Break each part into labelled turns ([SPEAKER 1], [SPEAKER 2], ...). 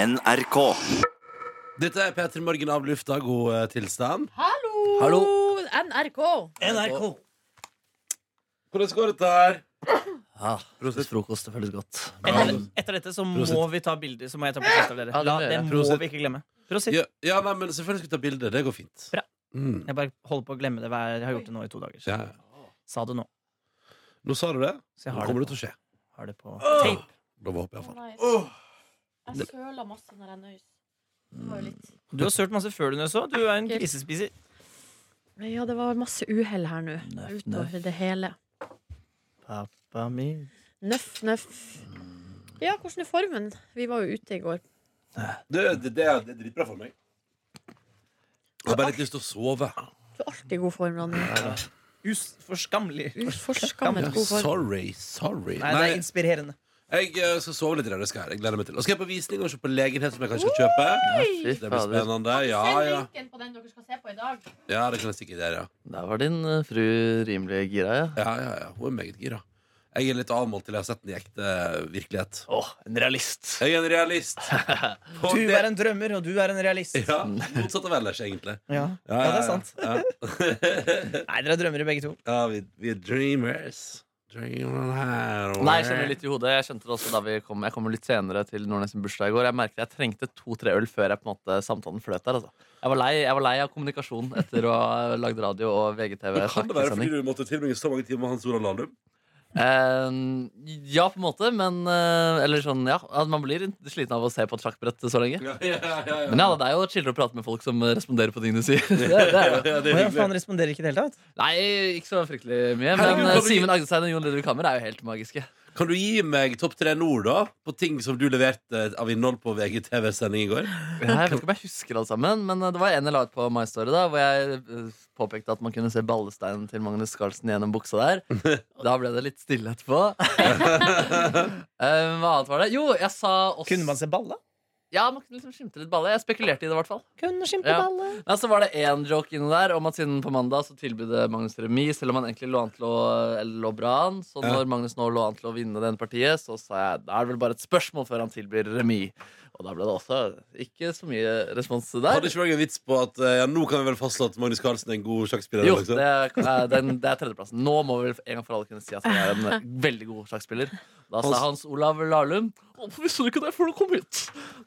[SPEAKER 1] NRK.
[SPEAKER 2] Dette er P3 Morgen av lufta. God eh, tilstand.
[SPEAKER 3] Hallo!
[SPEAKER 4] Hallo.
[SPEAKER 3] NRK.
[SPEAKER 4] NRK.
[SPEAKER 2] Hvordan går dette her?
[SPEAKER 4] Ja, Prosit. Frokost, det føles godt.
[SPEAKER 5] Etter, etter dette så må
[SPEAKER 2] Prosit.
[SPEAKER 5] vi ta bilder. Så må jeg ta portrett av dere.
[SPEAKER 4] Ja, det
[SPEAKER 5] La,
[SPEAKER 4] må
[SPEAKER 5] det
[SPEAKER 4] dere.
[SPEAKER 5] må
[SPEAKER 2] Prosit.
[SPEAKER 5] vi ikke glemme. Prosit.
[SPEAKER 2] Ja, ja nei, men selvfølgelig skal vi ta bilde. Det går fint.
[SPEAKER 5] Bra.
[SPEAKER 2] Mm.
[SPEAKER 5] Jeg bare holder på å glemme det. hver- Jeg har gjort det nå i to dager.
[SPEAKER 2] Ja.
[SPEAKER 5] Sa det nå.
[SPEAKER 2] Nå sa du det.
[SPEAKER 5] Så jeg
[SPEAKER 2] Nå
[SPEAKER 5] har
[SPEAKER 2] kommer
[SPEAKER 5] det
[SPEAKER 2] det til å skje.
[SPEAKER 5] Har det på tape.
[SPEAKER 2] Da håper jeg i hvert fall.
[SPEAKER 3] Jeg søla masse når jeg nøys. Det
[SPEAKER 4] Mm.
[SPEAKER 3] var jo litt
[SPEAKER 5] Du har sølt masse før du nøs òg. Du er en
[SPEAKER 3] Ekkelt.
[SPEAKER 5] grisespiser.
[SPEAKER 3] Ja, det var masse uhell her nå.
[SPEAKER 5] Nøff,
[SPEAKER 3] Utover det hele.
[SPEAKER 5] Pappa min.
[SPEAKER 3] Nøff, nøff.
[SPEAKER 4] Mm.
[SPEAKER 3] Ja, hvordan er formen? Vi var jo ute i går.
[SPEAKER 2] Det, det, det, er- det er dritbra for meg. Jeg har bare litt lyst til å sove.
[SPEAKER 3] Du er alltid i god form, Ronny.
[SPEAKER 5] Uforskammelig.
[SPEAKER 3] Uforskammet god form.
[SPEAKER 2] Sorry, sorry.
[SPEAKER 5] Nei, det er inspirerende.
[SPEAKER 2] Jeg eh, skal sove litt i dag. det skal jeg. Jeg gleder meg til det. Og skal jeg på visning og se på legenhet som jeg kanskje skal kjøpe.
[SPEAKER 4] Fy
[SPEAKER 2] Det blir
[SPEAKER 4] fader.
[SPEAKER 2] spennende. Ja, ja.
[SPEAKER 3] linken på den dere skal se på i dag.
[SPEAKER 2] ja det kan jeg stikke der, ja.
[SPEAKER 4] Der var din eh, fru rimelig gira, ja.
[SPEAKER 2] ja, ja, ja. Hun er meget gira. Jeg er litt avmålt til jeg har sett den i ekte virkelighet.
[SPEAKER 4] Å, en realist.
[SPEAKER 2] Jeg er en realist. Og
[SPEAKER 5] Du
[SPEAKER 2] det-
[SPEAKER 5] er en drømmer, og du er en realist. Ja,
[SPEAKER 2] Ja, motsatt av ellers, egentlig.
[SPEAKER 5] ja. det er sant.
[SPEAKER 2] Ja,
[SPEAKER 5] Nei, dere er drømmere begge to.
[SPEAKER 2] ja vi, vi er dreamers. Dreamer her og
[SPEAKER 4] Nei, jeg kjenner det litt i hodet. Jeg skjønte det også da vi kom Jeg kom litt senere til Nordnes sin bursdag i går. Jeg merket jeg trengte to-tre øl før jeg på en måte samtalen fløt der. Altså. Jeg, var lei, jeg var lei av kommunikasjon etter å ha lagd radio og VGTV.
[SPEAKER 2] Kan det være
[SPEAKER 4] snakkesending.
[SPEAKER 2] fordi du måtte tilbringe så mange timer med Hans Olav Lahlum?
[SPEAKER 4] Eh, ja, på en måte, men eh, Eller sånn, ja. at Man blir sliten av å se på et sjakkbrett så lenge.
[SPEAKER 2] Ja, ja, ja, ja,
[SPEAKER 4] Men ja, da, det er jo chillere å prate med folk som eh, responderer på ting du sier. Det, det er det.
[SPEAKER 2] Ja, det
[SPEAKER 5] Å
[SPEAKER 2] er
[SPEAKER 5] ja, faen
[SPEAKER 2] hyggelig.
[SPEAKER 5] responderer ikke i det hele tatt?
[SPEAKER 4] Nei, ikke så fryktelig mye.
[SPEAKER 2] Herregud,
[SPEAKER 4] Men eh,
[SPEAKER 2] kan du-
[SPEAKER 4] Simen Agdestein og Jon Ludvig Kammer er jo helt magiske.
[SPEAKER 2] Kan du gi meg topp tre nord, da? På ting som du leverte av innhold på VGTV-sending i går?
[SPEAKER 4] Ja, jeg vet ikke om jeg husker alt sammen, men eh, det var en jeg la ut på My Story, da, hvor jeg eh, påpekte at man kunne se ballesteinen til Magnus Carlsen gjennom buksa der. Da ble det litt stille etterpå. Eh, Hva annet var det? Jo, jeg sa også
[SPEAKER 5] Kunne man se balle?
[SPEAKER 4] Ja, man kunne liksom skimte litt baller. Jeg spekulerte i det, i hvert fall.
[SPEAKER 5] Kunne skimpe
[SPEAKER 4] Ja.
[SPEAKER 5] balle.
[SPEAKER 4] Nei, så var det én joke inne der om at siden på mandag så tilbød Magnus remis, selv om han egentlig lå an til å eller lå bra an. Så
[SPEAKER 2] Ja.
[SPEAKER 4] når Magnus nå lå an til å vinne den partiet, så sa jeg da er det vel bare et spørsmål før han tilbyr remis. Og da ble det også ikke så mye respons
[SPEAKER 2] Hadde
[SPEAKER 4] der.
[SPEAKER 2] ikke vært en vits på at eh, ja, nå kan vi vel fastslå at Magnus Carlsen er en god sjakkspiller?
[SPEAKER 4] Jo,
[SPEAKER 2] liksom?
[SPEAKER 4] det er, eh, den, det er tredjeplassen. Nå må vi vel en gang for alle kunne si at han er en veldig god sjakkspiller. Da sa Hans Olav Lahlum Å, Hvorfor visste du ikke det før du kom hit?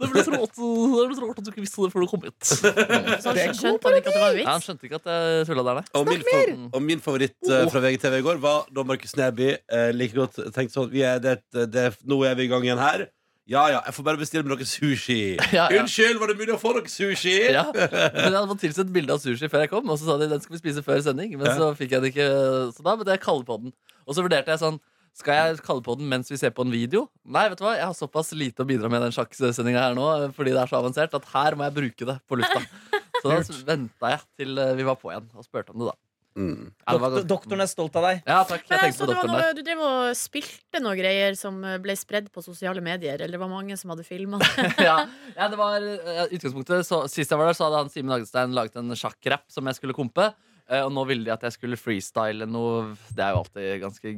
[SPEAKER 4] Det ble så rart, det ble så rart at du ikke visste det før du kom hit.
[SPEAKER 3] Så
[SPEAKER 5] Det er god
[SPEAKER 3] skjønte Altså, han ikke at det var en
[SPEAKER 4] Ja, han
[SPEAKER 3] vits?
[SPEAKER 4] skjønte ikke at jeg tulla der, nei.
[SPEAKER 2] Og min, favor- og min favoritt eh, fra VGTV i går var da Markus Neby eh, like godt tenkte sånn vi er, det, er et- det, er- Nå er vi i gang igjen her. Ja ja, jeg får bare bestille meg noe sushi.
[SPEAKER 4] Ja, ja.
[SPEAKER 2] Unnskyld, var det mulig å få noe sushi?
[SPEAKER 4] Ja, men jeg hadde fått tilsendt bilde av sushi før jeg kom, og så sa de den skal vi spise før sending. Men
[SPEAKER 2] Ja.
[SPEAKER 4] så fikk jeg det ikke, så da måtte jeg kalle på den. Og så vurderte jeg sånn skal jeg kalle på den mens vi ser på en video? Nei, vet du hva, jeg har såpass lite å bidra med i den sjakksendinga her nå fordi det er så avansert, at her må jeg bruke det på lufta. Så da venta jeg til eh, vi var på igjen og spurte om det, da.
[SPEAKER 2] Mm.
[SPEAKER 4] Ja, det var
[SPEAKER 5] Doktor,
[SPEAKER 4] godt.
[SPEAKER 5] doktoren er stolt av deg.
[SPEAKER 4] Ja, takk. Jeg
[SPEAKER 3] Men jeg
[SPEAKER 4] tenkte
[SPEAKER 3] så
[SPEAKER 4] på
[SPEAKER 3] det var
[SPEAKER 4] doktoren
[SPEAKER 3] noe,
[SPEAKER 4] der.
[SPEAKER 3] du drev og spilte noen greier som eh, ble spredd på sosiale medier. Eller det var mange som hadde filma det.
[SPEAKER 4] ja. ja, det var eh, utgangspunktet. Så, sist jeg var der, så hadde han Simen Hagestein laget en sjakkrapp som jeg skulle kompe. eh, Og nå ville de at jeg skulle freestyle noe Det er jo alltid ganske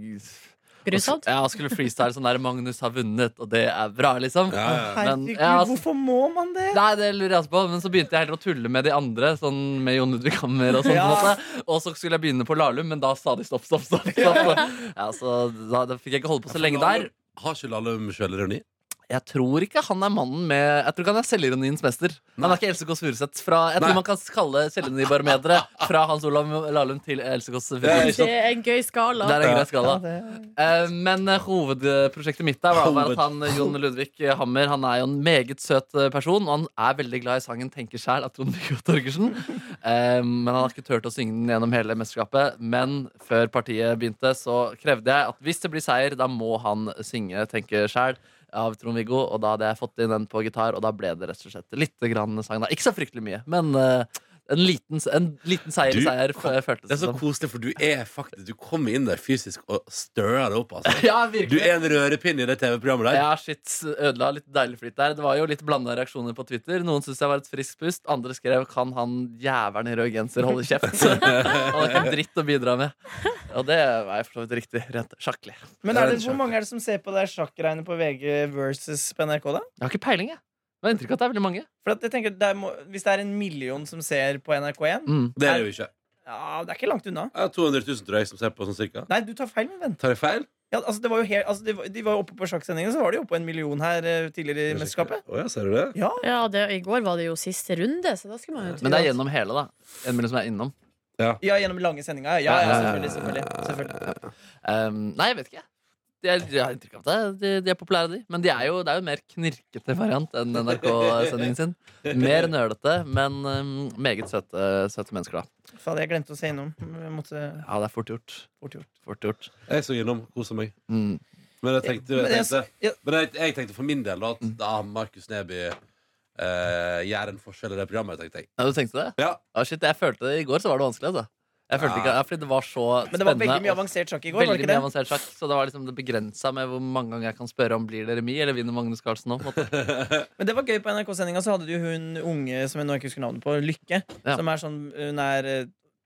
[SPEAKER 3] Grusomt.
[SPEAKER 4] Ja, skulle freestyle sånn der Magnus har vunnet, og det er bra, liksom.
[SPEAKER 2] Ja, ja.
[SPEAKER 4] Men,
[SPEAKER 5] Herregud,
[SPEAKER 4] ja, altså-
[SPEAKER 5] hvorfor må man det?
[SPEAKER 4] Nei, det lurer jeg også på, men så begynte jeg heller å tulle med de andre. Sånn med Jon Ludvig Hammer og sånn. på en
[SPEAKER 5] Ja.
[SPEAKER 4] måte. Og så skulle jeg begynne på Lahlum, men da sa de stopp, stopp, stopp. stopp. Ja, så da, da fikk jeg ikke holde på så lenge der.
[SPEAKER 2] Har ikke Lahlum sjølironi?
[SPEAKER 4] Jeg tror ikke han er mannen med Jeg tror ikke han er selvironiens mester. Han er ikke Else Kåss Furuseth. fra- Jeg tror
[SPEAKER 2] Nei.
[SPEAKER 4] man kan kalle selvironibarometeret fra Hans Olav Lahlum til Else Kåss
[SPEAKER 2] Ja,
[SPEAKER 4] Furuseth.
[SPEAKER 3] Det er en gøy skala.
[SPEAKER 4] Det er en
[SPEAKER 2] Ja.
[SPEAKER 4] grei skala. Eh, Men eh, hovedprosjektet mitt der var var at han, eh, Jon Ludvig Hammer Han er jo en meget søt eh, person, og han er veldig glad i sangen 'Tenker sjæl' av Trond-Viggo Torgersen. Eh, Men han har ikke turt å synge den gjennom hele mesterskapet. Men før partiet begynte, så krevde jeg at hvis det blir seier, da må han synge 'Tenker sjæl'. Av Trond-Viggo, og da hadde jeg fått inn den på gitar, og da ble det rett og slett litt grann sang. da Ikke så fryktelig mye, men eh, en liten, en liten seier,
[SPEAKER 2] Du-
[SPEAKER 4] seier f- føltes
[SPEAKER 2] Det
[SPEAKER 4] det
[SPEAKER 2] er så
[SPEAKER 4] som.
[SPEAKER 5] Sånn.
[SPEAKER 2] koselig, for du er faktisk Du kommer inn der fysisk og stirrer det opp. Altså.
[SPEAKER 4] Ja,
[SPEAKER 2] Du
[SPEAKER 4] virkelig.
[SPEAKER 2] er en rørepinne i det TV-programmet der.
[SPEAKER 4] Ja, shit, ødela litt deilig flyt der. Det var jo litt blanda reaksjoner på Twitter. Noen syntes jeg var et friskt pust, andre skrev 'Kan han jævelen i rød genser holde kjeft?' Han har ikke dritt å bidra med. Og det var jeg for så vidt riktig. Rent sjakklig.
[SPEAKER 5] Men
[SPEAKER 2] Det er
[SPEAKER 5] er det,
[SPEAKER 2] en
[SPEAKER 5] hvor
[SPEAKER 2] sjakk.
[SPEAKER 5] mange er det som ser på det sjakkregnet på VG versus på NRK, da?
[SPEAKER 4] Jeg har ikke peiling, jeg. Men jeg har inntrykk av at det er veldig mange.
[SPEAKER 5] For at jeg tenker, det er, må- Hvis det er en million som ser på NRK1
[SPEAKER 4] Mm.
[SPEAKER 2] Det er det jo ikke.
[SPEAKER 5] ja, Det er ikke langt unna.
[SPEAKER 2] Jeg har 200 000, tror jeg, som ser på sånn cirka.
[SPEAKER 5] Nei, du tar feil, min venn.
[SPEAKER 2] Tar jeg feil?
[SPEAKER 5] Ja, altså, det var jo helt, altså, de, var, de var jo oppe på sjakksendingen, så var de jo oppe på en million her eh, tidligere i mesterskapet.
[SPEAKER 2] Å ja, ser du det?
[SPEAKER 5] Ja,
[SPEAKER 3] Ja, det, I går var det jo siste runde, så da skulle man jo tro
[SPEAKER 4] Men det er
[SPEAKER 3] at-
[SPEAKER 4] gjennom hele, da. En million som er innom.
[SPEAKER 5] ja, gjennom lange sendinger. Ja, ja, selvfølgelig. selvfølgelig, selvfølgelig.
[SPEAKER 4] Ehm, nei, jeg vet ikke. De er, jeg har inntrykk av at de, de er populære, de. Men de er jo, det er jo en mer knirkete variant enn NRK-sendingen sin. Mer nølete, men ehm, meget søte, søte mennesker, da.
[SPEAKER 5] Faen, jeg glemte å se innom. eh, Jeg måtte
[SPEAKER 4] Ja, det er fort gjort.
[SPEAKER 5] fort gjort.
[SPEAKER 4] Fort gjort.
[SPEAKER 2] Jeg så gjennom, kosa meg.
[SPEAKER 4] Mm.
[SPEAKER 2] Men jeg tenkte,
[SPEAKER 5] Men
[SPEAKER 2] jeg
[SPEAKER 5] jeg-
[SPEAKER 2] tenkte,
[SPEAKER 5] ja.
[SPEAKER 2] men jeg, jeg tenkte for min del da, at da Markus Neby eh, gjør en forskjell i det programmet, tenkte jeg.
[SPEAKER 4] Ja, du tenkte det?
[SPEAKER 2] Ja.
[SPEAKER 4] Ah, shit, jeg følte det i går, så var det vanskelig, altså. Jeg følte
[SPEAKER 2] Ja.
[SPEAKER 4] ikke, ja, fordi det var så spennende.
[SPEAKER 5] Men det var veldig mye
[SPEAKER 4] og
[SPEAKER 5] avansert sjakk i går, var
[SPEAKER 4] veldig
[SPEAKER 5] det
[SPEAKER 4] mye
[SPEAKER 5] ikke det?
[SPEAKER 4] avansert sjakk, så det var liksom det begrensa med hvor mange ganger jeg kan spørre om blir det remis, eller vinner Magnus Carlsen nå. på en måte.
[SPEAKER 5] Men det var gøy på NRK-sendinga, så hadde du jo hun unge som jeg nå ikke husker navnet på, Lykke,
[SPEAKER 4] Ja.
[SPEAKER 5] som er sånn Hun er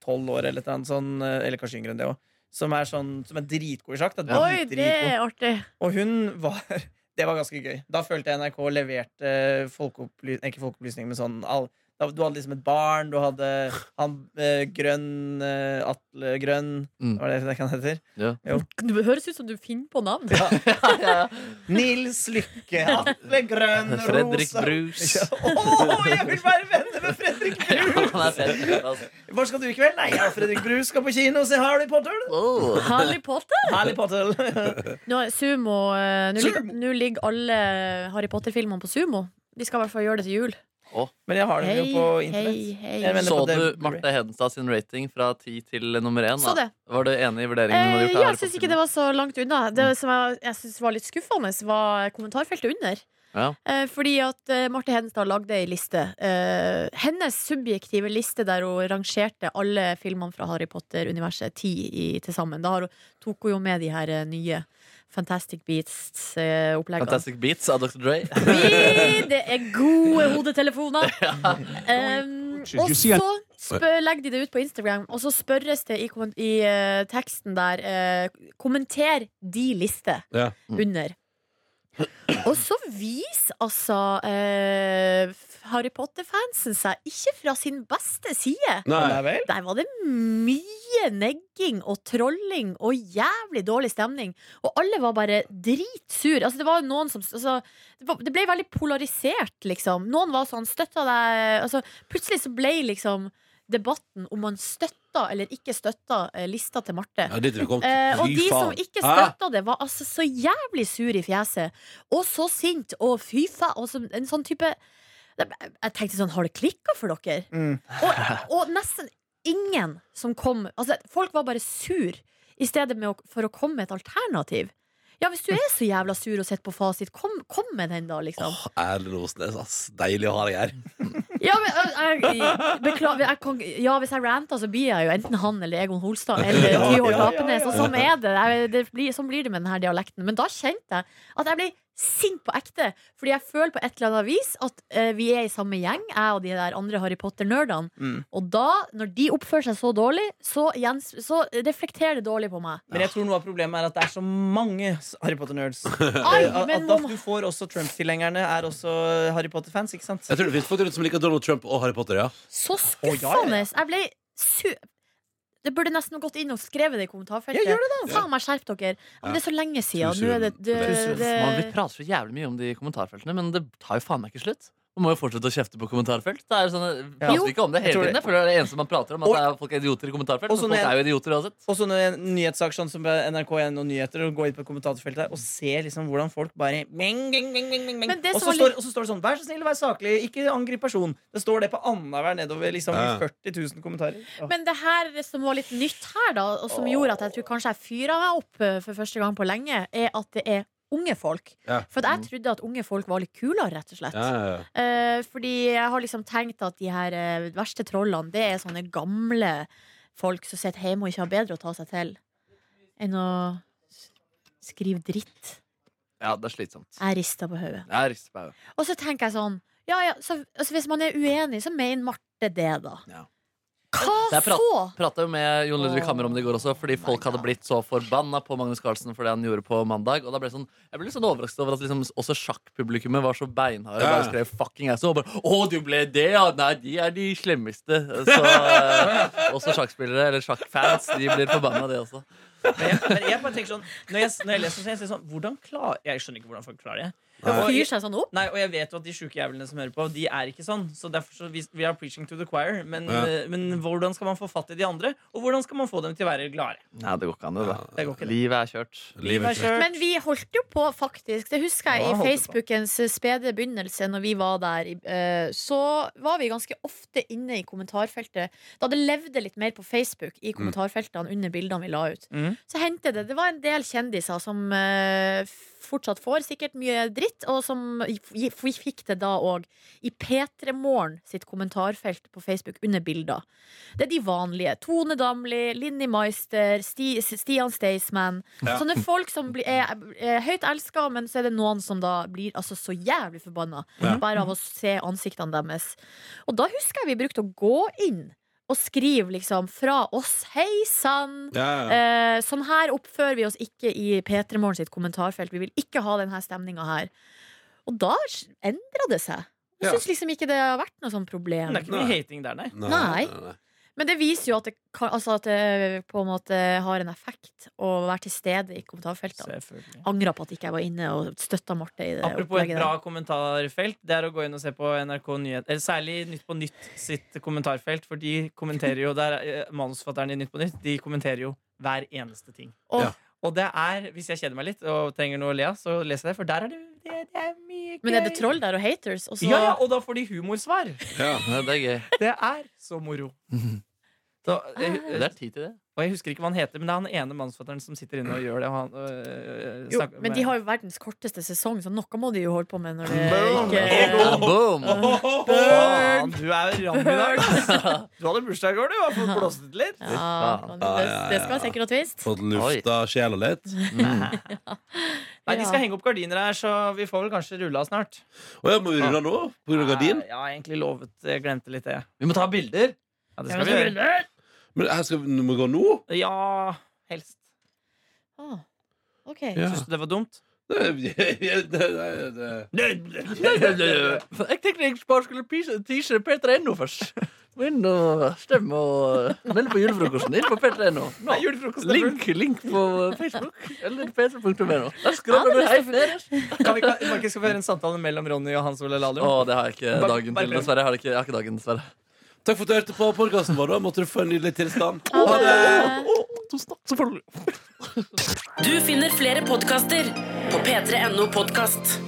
[SPEAKER 5] tolv år eller et eller annet sånn, eh, eller kanskje yngre enn det òg. Som er, sånn, som er dritgod i sjakk. Da.
[SPEAKER 3] Oi,
[SPEAKER 5] Dritgod.
[SPEAKER 3] det er artig!
[SPEAKER 5] Og hun var Det var ganske gøy. Da følte jeg NRK leverte folkeopplysning Ikke folkeopplysning, men sånn all, da, Du hadde liksom et barn, du hadde han eh, grønn eh, Atle Grønn
[SPEAKER 4] Mm.
[SPEAKER 5] Hva er det det kan heter?
[SPEAKER 3] Det høres ut som du finner på navn.
[SPEAKER 4] Ja, ja, ja.
[SPEAKER 5] Nils Lykke, Atle Grønn,
[SPEAKER 4] Fredrik
[SPEAKER 5] Rosa
[SPEAKER 4] Brus.
[SPEAKER 5] ja. Åh, jeg vil være venner med Fredrik Brus!
[SPEAKER 4] Han er fet, altså.
[SPEAKER 5] Hvor skal du i kveld? Nei, jeg og Fredrik Brus skal på kino og se Harry Potter!
[SPEAKER 4] Oh.
[SPEAKER 3] Harry Potter?
[SPEAKER 5] Harry Potter
[SPEAKER 3] Nå, er sumo, eh, nå, ligger,
[SPEAKER 5] Sumo.
[SPEAKER 3] nå ligger alle Harry Potter-filmene på Sumo. Vi skal i hvert fall gjøre det til jul.
[SPEAKER 5] Men jeg har det jo på internett.
[SPEAKER 3] hei,
[SPEAKER 5] Jeg
[SPEAKER 3] hei.
[SPEAKER 5] mener-
[SPEAKER 4] Så
[SPEAKER 5] på det-
[SPEAKER 4] du Marte Hedenstad sin rating fra ti til nummer én?
[SPEAKER 3] Så
[SPEAKER 4] da?
[SPEAKER 3] det.
[SPEAKER 4] Var du enig i vurderingen hun hadde
[SPEAKER 3] Eh,
[SPEAKER 4] gjort? av
[SPEAKER 3] ja,
[SPEAKER 4] Harry
[SPEAKER 3] jeg syns
[SPEAKER 4] Potter-filmen?
[SPEAKER 3] ikke det var så langt unna. Det som jeg, jeg syns var litt skuffende, var kommentarfeltet under.
[SPEAKER 4] Ja.
[SPEAKER 3] Eh, fordi at eh, Marte Hedenstad lagde ei liste. Eh, hennes subjektive liste der hun rangerte alle filmene fra Harry Potter-universet, ti i- til sammen. Da har hun- tok hun jo med de her eh, nye Fantastic eh, Beats-oppleggene.
[SPEAKER 4] Fantastic Beats av Dr. Dre.
[SPEAKER 3] Vi, det er gode hodetelefoner. Um, og så spør, legger de det ut på Instagram, og så spørres det i, kommen- i eh, teksten der eh, Kommenter de liste
[SPEAKER 2] Ja.
[SPEAKER 3] under. Og så viser altså eh, Harry Potter-fansen seg ikke fra sin beste side.
[SPEAKER 2] Nei.
[SPEAKER 5] Nei vel?
[SPEAKER 3] Der var det mye negging og trolling og jævlig dårlig stemning. Og alle var bare dritsur. Altså, det var jo noen som altså, det var- Det ble veldig polarisert, liksom. Noen var sånn Støtta deg altså, Plutselig så ble liksom debatten om man støtta eller ikke støtta eh, lista til Marte.
[SPEAKER 2] Ja, dit er vi kommet.
[SPEAKER 3] Eh, og
[SPEAKER 2] Fy
[SPEAKER 3] de som
[SPEAKER 2] faen.
[SPEAKER 3] ikke
[SPEAKER 2] Hæ?
[SPEAKER 3] støtta det, var altså så jævlig sur i fjeset. Og så sint, og fy faen. og så- En sånn type Jeg tenkte sånn, har det klikka for dere?
[SPEAKER 5] Mm.
[SPEAKER 3] Og, og nesten ingen som kom altså, Folk var bare sur I stedet med å, for å komme med et alternativ Ja, hvis du er så jævla sur og sett på fasit Kom, kom med den da, liksom
[SPEAKER 2] Åh, Erlend Osnes, ass. Deilig å ha deg her.
[SPEAKER 3] Ja, men, jeg, jeg, beklager, jeg kan, ja hvis jeg ranter så blir jeg jo enten han eller Egon Holstad Eller
[SPEAKER 5] Ja,
[SPEAKER 3] Tyhold
[SPEAKER 5] ja, ja,
[SPEAKER 3] Apenes Og
[SPEAKER 5] ja.
[SPEAKER 3] sånn er det, jeg, det blir, Sånn blir det med denne dialekten Men da kjente jeg at jeg ble sint på ekte Fordi jeg føler på et eller annet vis At eh, vi er i samme gjeng Jeg og de der andre Harry Potter-nerdene
[SPEAKER 5] Mm.
[SPEAKER 3] Og da, når de oppfører seg så dårlig, så, gjens, så reflekterer det dårlig på meg.
[SPEAKER 5] Men jeg tror noe av problemet er at det er så mange Harry Potter-nerds.
[SPEAKER 3] Ai,
[SPEAKER 5] Eh, at-
[SPEAKER 3] men
[SPEAKER 5] at da du får også Trump-tilhengerne er også Harry Potter-fans, ikke sant?
[SPEAKER 2] Jeg tror det finnes folk rundt som liker Donald Trump og Harry Potter, ja.
[SPEAKER 3] Så
[SPEAKER 5] Å, ja,
[SPEAKER 3] skuffende! Jeg ble su... Det burde nesten gått inn og skrevet det i kommentarfeltet.
[SPEAKER 5] Ja, gjør
[SPEAKER 3] Faen meg, skjerp dere! Ja,
[SPEAKER 2] Ja.
[SPEAKER 3] men det er så lenge siden. Nå er det, det,
[SPEAKER 5] Tusen.
[SPEAKER 3] Eh, det
[SPEAKER 4] Man, vi prater så jævlig mye om de kommentarfeltene, men det tar jo faen meg ikke slutt. Man må jo fortsette å kjefte på kommentarfelt. Det er jo sånn, vi prater
[SPEAKER 3] Jo.
[SPEAKER 4] ikke om det
[SPEAKER 5] Jeg
[SPEAKER 4] hele
[SPEAKER 5] tror det.
[SPEAKER 4] tiden. Jeg føler det er det eneste man prater om, at
[SPEAKER 5] Og-
[SPEAKER 4] det er folk er idioter i kommentarfelt.
[SPEAKER 5] Og sånn så
[SPEAKER 4] Men
[SPEAKER 5] når
[SPEAKER 4] folk er jo idioter uansett.
[SPEAKER 5] Og så en nyhetssak sånn som NRK1 og nyheter, og gå inn på kommentatorfeltet der og se liksom hvordan folk bare ming, ming, ming, ming, ming, ming.
[SPEAKER 3] Men det
[SPEAKER 5] Og
[SPEAKER 3] som
[SPEAKER 5] så
[SPEAKER 3] var
[SPEAKER 5] står, og så står det sånn 'Vær så snill, vær saklig, ikke angrip person'. Det står det på annenhver nedover liksom,
[SPEAKER 2] Ja.
[SPEAKER 5] i 40 000 kommentarer. Åh.
[SPEAKER 3] Men det her som var litt nytt her, da, og som gjorde at jeg tror kanskje jeg fyra meg opp eh, for første gang på lenge, er at det er unge folk.
[SPEAKER 2] Ja. Mm.
[SPEAKER 3] For at jeg trodde at unge folk var litt kulere, rett og slett.
[SPEAKER 2] ja, ja, ja.
[SPEAKER 3] Eh, fordi jeg har liksom tenkt at de her eh, verste trollene, det er sånne gamle folk som sitter hjemme og ikke har bedre å ta seg til enn å s- skrive dritt.
[SPEAKER 4] Ja, det er slitsomt.
[SPEAKER 3] Jeg rister på hodet.
[SPEAKER 4] Jeg rister på hodet.
[SPEAKER 3] Og så tenker jeg sånn ja, ja, så, altså Hvis man er uenig, så mener Marte det, da.
[SPEAKER 4] Ja. Det
[SPEAKER 3] Hva
[SPEAKER 4] er prat-
[SPEAKER 3] så?
[SPEAKER 4] Prata jo med Jon Ludvig Hammer om det i går også, fordi folk hadde blitt så forbanna på Magnus Carlsen for det han gjorde på mandag. Og da ble jeg sånn, Jeg ble litt sånn overrasket over at liksom også sjakkpublikummet var så beinharde.
[SPEAKER 2] Ja.
[SPEAKER 4] Bare skrev 'fucking ass' og bare 'Å, du ble det, ja'. Nei, de er de slemmeste. Så eh, også sjakkspillere, eller sjakkfans, de blir forbanna, det også.
[SPEAKER 5] Men jeg, men jeg bare tenker sånn Når jeg, når jeg leser sånn, så tenker jeg sånn Hvordan klarer Jeg skjønner ikke hvordan folk klarer det. Og
[SPEAKER 3] Fyr
[SPEAKER 5] jeg,
[SPEAKER 3] seg sånn opp?
[SPEAKER 5] nei, og jeg vet jo at de sjuke jævlene som hører på, de er ikke sånn. Så derfor så vi, vi er preaching to the choir. Men,
[SPEAKER 2] Ja.
[SPEAKER 5] eh, men hvordan skal man få fatt i de andre? Og hvordan skal man få dem til å være gladere?
[SPEAKER 4] Nei, det går ikke an, det. da.
[SPEAKER 5] Det går ikke, det.
[SPEAKER 4] Livet er kjørt.
[SPEAKER 2] Livet er
[SPEAKER 5] Kjør.
[SPEAKER 3] Men vi holdt jo på, faktisk. Det husker jeg
[SPEAKER 5] Ja, holdt
[SPEAKER 3] i
[SPEAKER 5] på.
[SPEAKER 3] Facebookens eh, spede begynnelse, når vi var der. i- eh, Så var vi ganske ofte inne i kommentarfeltet. Da det levde litt mer på Facebook i kommentarfeltene under bildene vi la ut.
[SPEAKER 5] Mm.
[SPEAKER 3] Så hendte det. Det var en del kjendiser som eh, fortsatt får sikkert mye dritt, og som gi- vi fikk det da òg i P3 Morgen sitt kommentarfelt på Facebook under bilder. Det er de vanlige. Tone Damli, Linni Meister, Sti, Stian Staysman.
[SPEAKER 2] Ja.
[SPEAKER 3] Sånne folk som blir, er, er høyt elska, men så er det noen som da blir altså, så jævlig forbanna
[SPEAKER 2] Ja.
[SPEAKER 3] bare av å se ansiktene deres. Og da husker jeg vi brukte å gå inn og skrive liksom fra oss 'hei sann'.
[SPEAKER 2] Ja, ja.
[SPEAKER 3] Eh, sånn her oppfører vi oss ikke i P3 Morgen sitt kommentarfelt. Vi vil ikke ha denne stemninga her. Og da s- endra det seg.
[SPEAKER 2] Ja.
[SPEAKER 3] Jeg syns liksom ikke det har vært noe sånn problem.
[SPEAKER 5] Men det er ikke mye hating der, nei.
[SPEAKER 3] Nei. Men det viser jo at det, kan, altså at det på en måte har en effekt å være til stede i kommentarfeltene.
[SPEAKER 5] Selvfølgelig.
[SPEAKER 3] Angra på at ikke jeg var inne og støtta Marte i det
[SPEAKER 5] Apropos et
[SPEAKER 3] opplegget.
[SPEAKER 5] bra
[SPEAKER 3] der.
[SPEAKER 5] kommentarfelt, det er å gå inn og se på NRK Nyhet Eller særlig Nytt på Nytt sitt kommentarfelt, for de kommenterer jo der eh, Manusforfatteren i Nytt på Nytt De kommenterer jo hver eneste ting.
[SPEAKER 3] Og
[SPEAKER 2] Ja.
[SPEAKER 5] Og det er, hvis jeg kjeder meg litt og trenger noe å le av, så leser jeg det, for der er det, det, det er mye gøy.
[SPEAKER 3] Men er det troll der og haters? Og så,
[SPEAKER 5] Ja, ja, og da får de humorsvar.
[SPEAKER 2] Ja.
[SPEAKER 4] Ja, Det er gøy.
[SPEAKER 5] Det er så moro. Så,
[SPEAKER 3] Ah.
[SPEAKER 5] jeg,
[SPEAKER 4] Det er tid til det.
[SPEAKER 5] og jeg husker ikke hva han heter, men det er han ene manusforfatteren som sitter inne og gjør det. Og han, øh,
[SPEAKER 3] jo,
[SPEAKER 5] snakker
[SPEAKER 3] men
[SPEAKER 5] med-
[SPEAKER 3] de har jo verdens korteste sesong, så noe må de jo holde på med når det
[SPEAKER 2] Boom.
[SPEAKER 3] ikke
[SPEAKER 4] Boom!
[SPEAKER 5] Faen, du er jo ram i dag. Du hadde bursdag i går, du. Har fått blåst ut litt.
[SPEAKER 3] ja, men det, det skal sikkert og tvist.
[SPEAKER 2] Fått lufta sjela litt.
[SPEAKER 4] Mm.
[SPEAKER 5] Nei, De
[SPEAKER 3] Ja.
[SPEAKER 5] skal henge opp gardiner her, så vi får vel kanskje rulla snart.
[SPEAKER 2] Å ja, må vi rulle nå? På grunn av gardin?
[SPEAKER 5] Ja, jeg har egentlig lovet. Jeg glemte litt det.
[SPEAKER 4] Vi må ta bilder.
[SPEAKER 5] Ja,
[SPEAKER 3] Ja,
[SPEAKER 5] det skal
[SPEAKER 3] men
[SPEAKER 5] vi
[SPEAKER 3] så
[SPEAKER 5] gjøre.
[SPEAKER 3] blir det-
[SPEAKER 2] Men her skal vi må vi gå nå?
[SPEAKER 5] Ja, helst.
[SPEAKER 3] Ah, Ok.
[SPEAKER 2] Ja.
[SPEAKER 5] Syns du det var dumt?
[SPEAKER 2] Nei, nei, nei, nei.
[SPEAKER 4] Jeg tenkte jeg bare skulle pise- tease p3.no først. Gå inn og stemme og eh, meld på julefrokosten. Inn på p3.no. Nå.
[SPEAKER 5] Nei, julefrokost er full.
[SPEAKER 4] Link, link på Facebook eller p3.no. Der
[SPEAKER 3] Ja, det
[SPEAKER 4] skriver du
[SPEAKER 3] er
[SPEAKER 4] hei Feres.
[SPEAKER 5] Kan vi kan- kan ikke skal vi høre en samtale mellom Ronny og Hans Ole
[SPEAKER 4] Å,
[SPEAKER 5] Lahlum?
[SPEAKER 4] det har jeg ikke
[SPEAKER 5] Bare-
[SPEAKER 4] dagen
[SPEAKER 5] bare
[SPEAKER 4] til,
[SPEAKER 5] prøv.
[SPEAKER 4] dessverre. Jeg har, det ikke, jeg har ikke dagen, dessverre.
[SPEAKER 2] Takk for at du hørte på podkasten vår. da. Måtte du få en nydelig tilstand.
[SPEAKER 3] Ha det.
[SPEAKER 4] Tusen takk, selvfølgelig.
[SPEAKER 1] Du finner flere podkaster på p3.no podkast.